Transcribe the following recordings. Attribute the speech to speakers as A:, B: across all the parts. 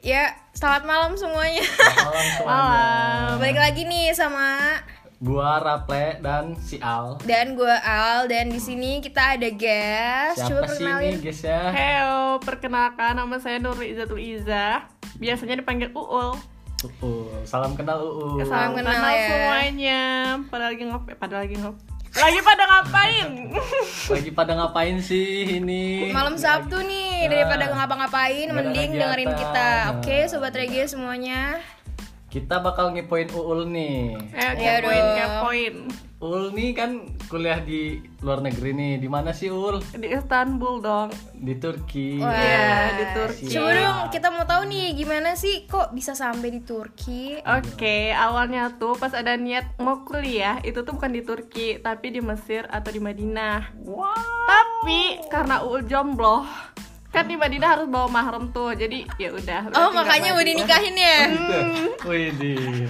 A: Ya, selamat malam semuanya.
B: Malam semuanya.
A: Balik lagi nih sama
B: Gua Raple dan si Al.
A: dan gue Al dan di sini kita ada
C: Eh,
A: guest.
B: Siapa sih ini guys ya?
C: Heo, perkenalkan nama saya Nur Izzatul Iza. Biasanya dipanggil Uul.
B: Uul. Salam kenal Uul.
A: Salam kenal ya.
C: semuanya. Pada lagi ngop, eh, pada lagi ngop. Lagi pada ngapain?
B: Lagi pada ngapain sih ini?
A: Malam Sabtu nih, daripada
B: Nah,
A: ngapa-ngapain
B: nggak ada
A: mending
B: kegiatan.
A: dengerin kita. Oke,
B: Nah.
A: sobat Regi semuanya.
B: Kita bakal ngepoin Uul nih.
C: eh,
A: Iya
C: kepoin,
A: dong.
C: kepoin.
B: Uul nih kan kuliah di luar negeri nih. Di mana sih Uul?
C: Di Istanbul dong.
B: Di Turki.
A: Wah.
C: Iya, di Turki.
B: Siap.
A: Coba dong, kita mau tahu nih gimana sih kok bisa sampai di Turki? Oh,
C: Oke, awalnya tuh pas ada niat mau kuliah itu tuh bukan di Turki, tapi di Mesir atau di Madinah. Tapi karena Uul jomblo, kan di Madinah harus bawa mahram tuh. Jadi ya udah. berarti
A: Oh,
C: nggak
A: makanya
C: maju.
A: udah nikahin ya.
B: Wih,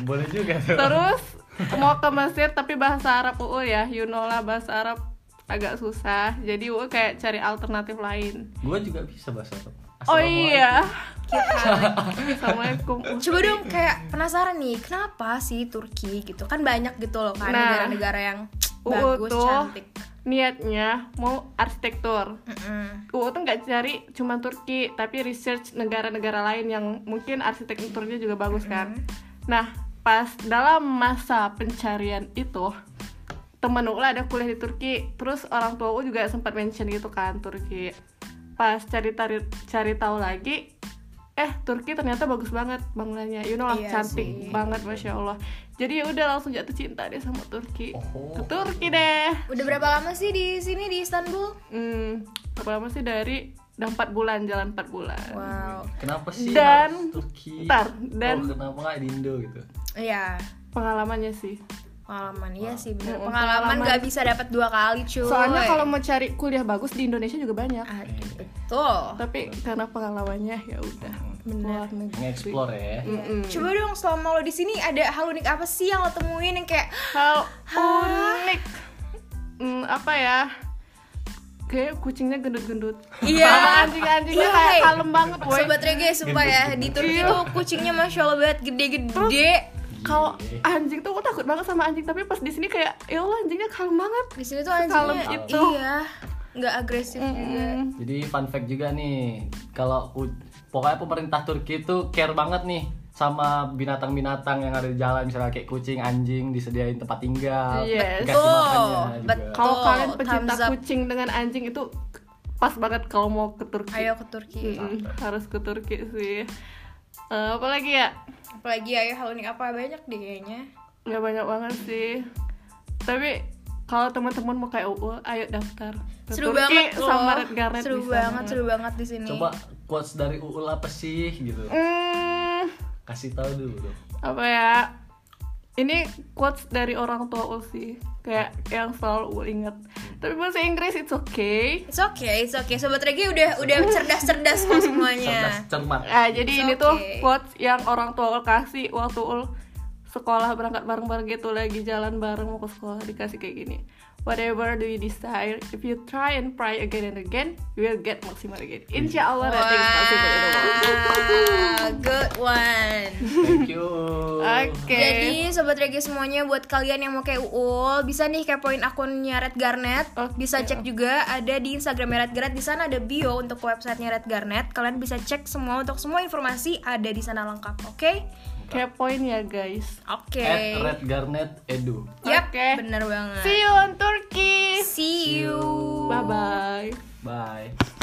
B: boleh juga tuh.
C: Terus mau ke Mesir tapi bahasa Arab UU ya, you know lah bahasa Arab agak susah. Jadi UU kayak cari alternatif lain.
B: Gua juga bisa bahasa Arab.
C: Oh
B: Assalamualaikum.
C: iya. Assalamualaikum. UU.
A: Coba dong kayak penasaran nih, kenapa sih Turki gitu? Kan banyak gitu loh kan
C: Nah,
A: negara-negara yang
C: UU
A: bagus,
C: tuh
A: cantik.
C: niatnya mau arsitektur.
A: Mm-mm.
C: UU tuh nggak cari cuma Turki, tapi research negara-negara lain yang mungkin arsitekturnya juga bagus kan.
A: Mm-hmm.
C: Nah, pas dalam masa pencarian itu temen UU ada kuliah di Turki, terus orang tua UU juga sempat mention gitu kan Turki. Pas cari tari, cari tahu lagi, eh Turki ternyata bagus banget bangunannya, you know lah,
A: Iya
C: cantik
A: sih.
C: banget masya Allah. Jadi ya udah langsung jatuh cinta deh sama Turki.
B: Oh.
C: Ke Turki deh.
A: Udah berapa lama sih di sini di Istanbul?
C: Hmm, berapa lama sih dari udah 4 bulan jalan 4 bulan.
A: Wow.
B: Kenapa sih
C: Dan-
B: harus Turki?
C: Bentar, dan-
B: Oh, kenapa nggak di Indo gitu?
A: Iya.
C: Pengalamannya sih.
A: Pengalaman iya sih bener.
C: Mm,
A: Pengalaman
C: pengalaman.
A: gak bisa dapat dua kali cuy.
C: Soalnya kalau mau cari kuliah bagus di Indonesia juga banyak.
A: Ah,
C: gitu.
A: betul.
C: Tapi karena pengalamannya ya udah.
A: Benar.
C: Luar negeri.
B: Nge-explore ya.
C: Mm-mm.
A: Coba dong selama lo di sini ada hal unik apa sih yang lo temuin yang kayak
C: Hal unik. Hmm, apa ya? Kayak kucingnya gendut-gendut.
A: Iya.
C: Sama Anjing-anjingnya
A: Iya,
C: kayak
A: hey.
C: kalem banget, boy.
A: sobat rege sumpah ya di Turki tuh
C: Iya.
A: kucingnya masya Allah banget gede-gede.
C: Kalau anjing tuh aku takut banget sama anjing, tapi pas di sini kayak ya Allah anjingnya kalem banget.
A: Di sini tuh
C: Sekalem
A: anjingnya
C: itu.
A: iya nggak agresif juga.
C: Mm.
B: Jadi fun fact juga nih, kalau u- pokoknya pemerintah Turki itu care banget nih sama binatang-binatang yang ada di jalan misalnya kayak kucing, anjing disediain tempat tinggal,
C: Yes.
B: dikasih
A: Betul,
B: makannya juga.
A: betul.
C: Kalau
A: Tuh,
C: kalian
A: Oh,
C: pecinta
A: thumbs up.
C: kucing dengan anjing itu pas banget kalau mau ke Turki.
A: Ayo ke Turki.
C: Mm-mm, harus ke Turki sih. Eh, apa lagi ya?
A: Apalagi ya hal unik apa banyak deh kayaknya.
C: Gak banyak banget sih. Tapi kalau teman-teman mau kayak UU, ayo daftar. Ke
A: Seru
C: Turki
A: banget loh.
C: sama Red Garnet
A: seru
C: bisa.
A: banget, seru banget di sini.
B: Coba quotes dari Uul apa sih gitu?
C: Hmm,
B: Kasih tahu dulu dong.
C: apa ya? Ini quotes dari orang tua UU sih. Kayak yang selalu UU ingat. Tapi bahasa Inggris it's okay.
A: It's okay, it's okay. Sobat Regi udah udah cerdas-cerdas kok
B: Cerdas
A: semuanya.
B: cermat.
C: Ah,
A: It's
C: jadi ini tuh
A: okay.
C: quotes yang orang tua ul kasih waktu ul sekolah berangkat bareng-bareng gitu lagi jalan bareng mau ke sekolah dikasih kayak gini. Whatever do you desire, if you try and pray again and again, you will get maksimal again. Insya Allah
A: Wow,
C: nothing is possible in the world.
A: good one.
B: Thank you.
C: Oke.
A: Jadi sobat Regi semuanya buat kalian yang mau kayak Uul bisa nih kepoin akunnya Red Garnet.
C: Oke.
A: Bisa cek juga ada di Instagramnya Red Garnet. Di sana ada bio untuk websitenya Red Garnet. Kalian bisa cek semua untuk semua informasi ada di sana lengkap. Oke?
C: Kepoin ya guys.
A: Oke.
B: At Red Garnet Edu.
A: Yap,
C: Oke.
A: bener banget.
C: See you on Turkey.
A: See you.
C: Bye bye.
B: Bye.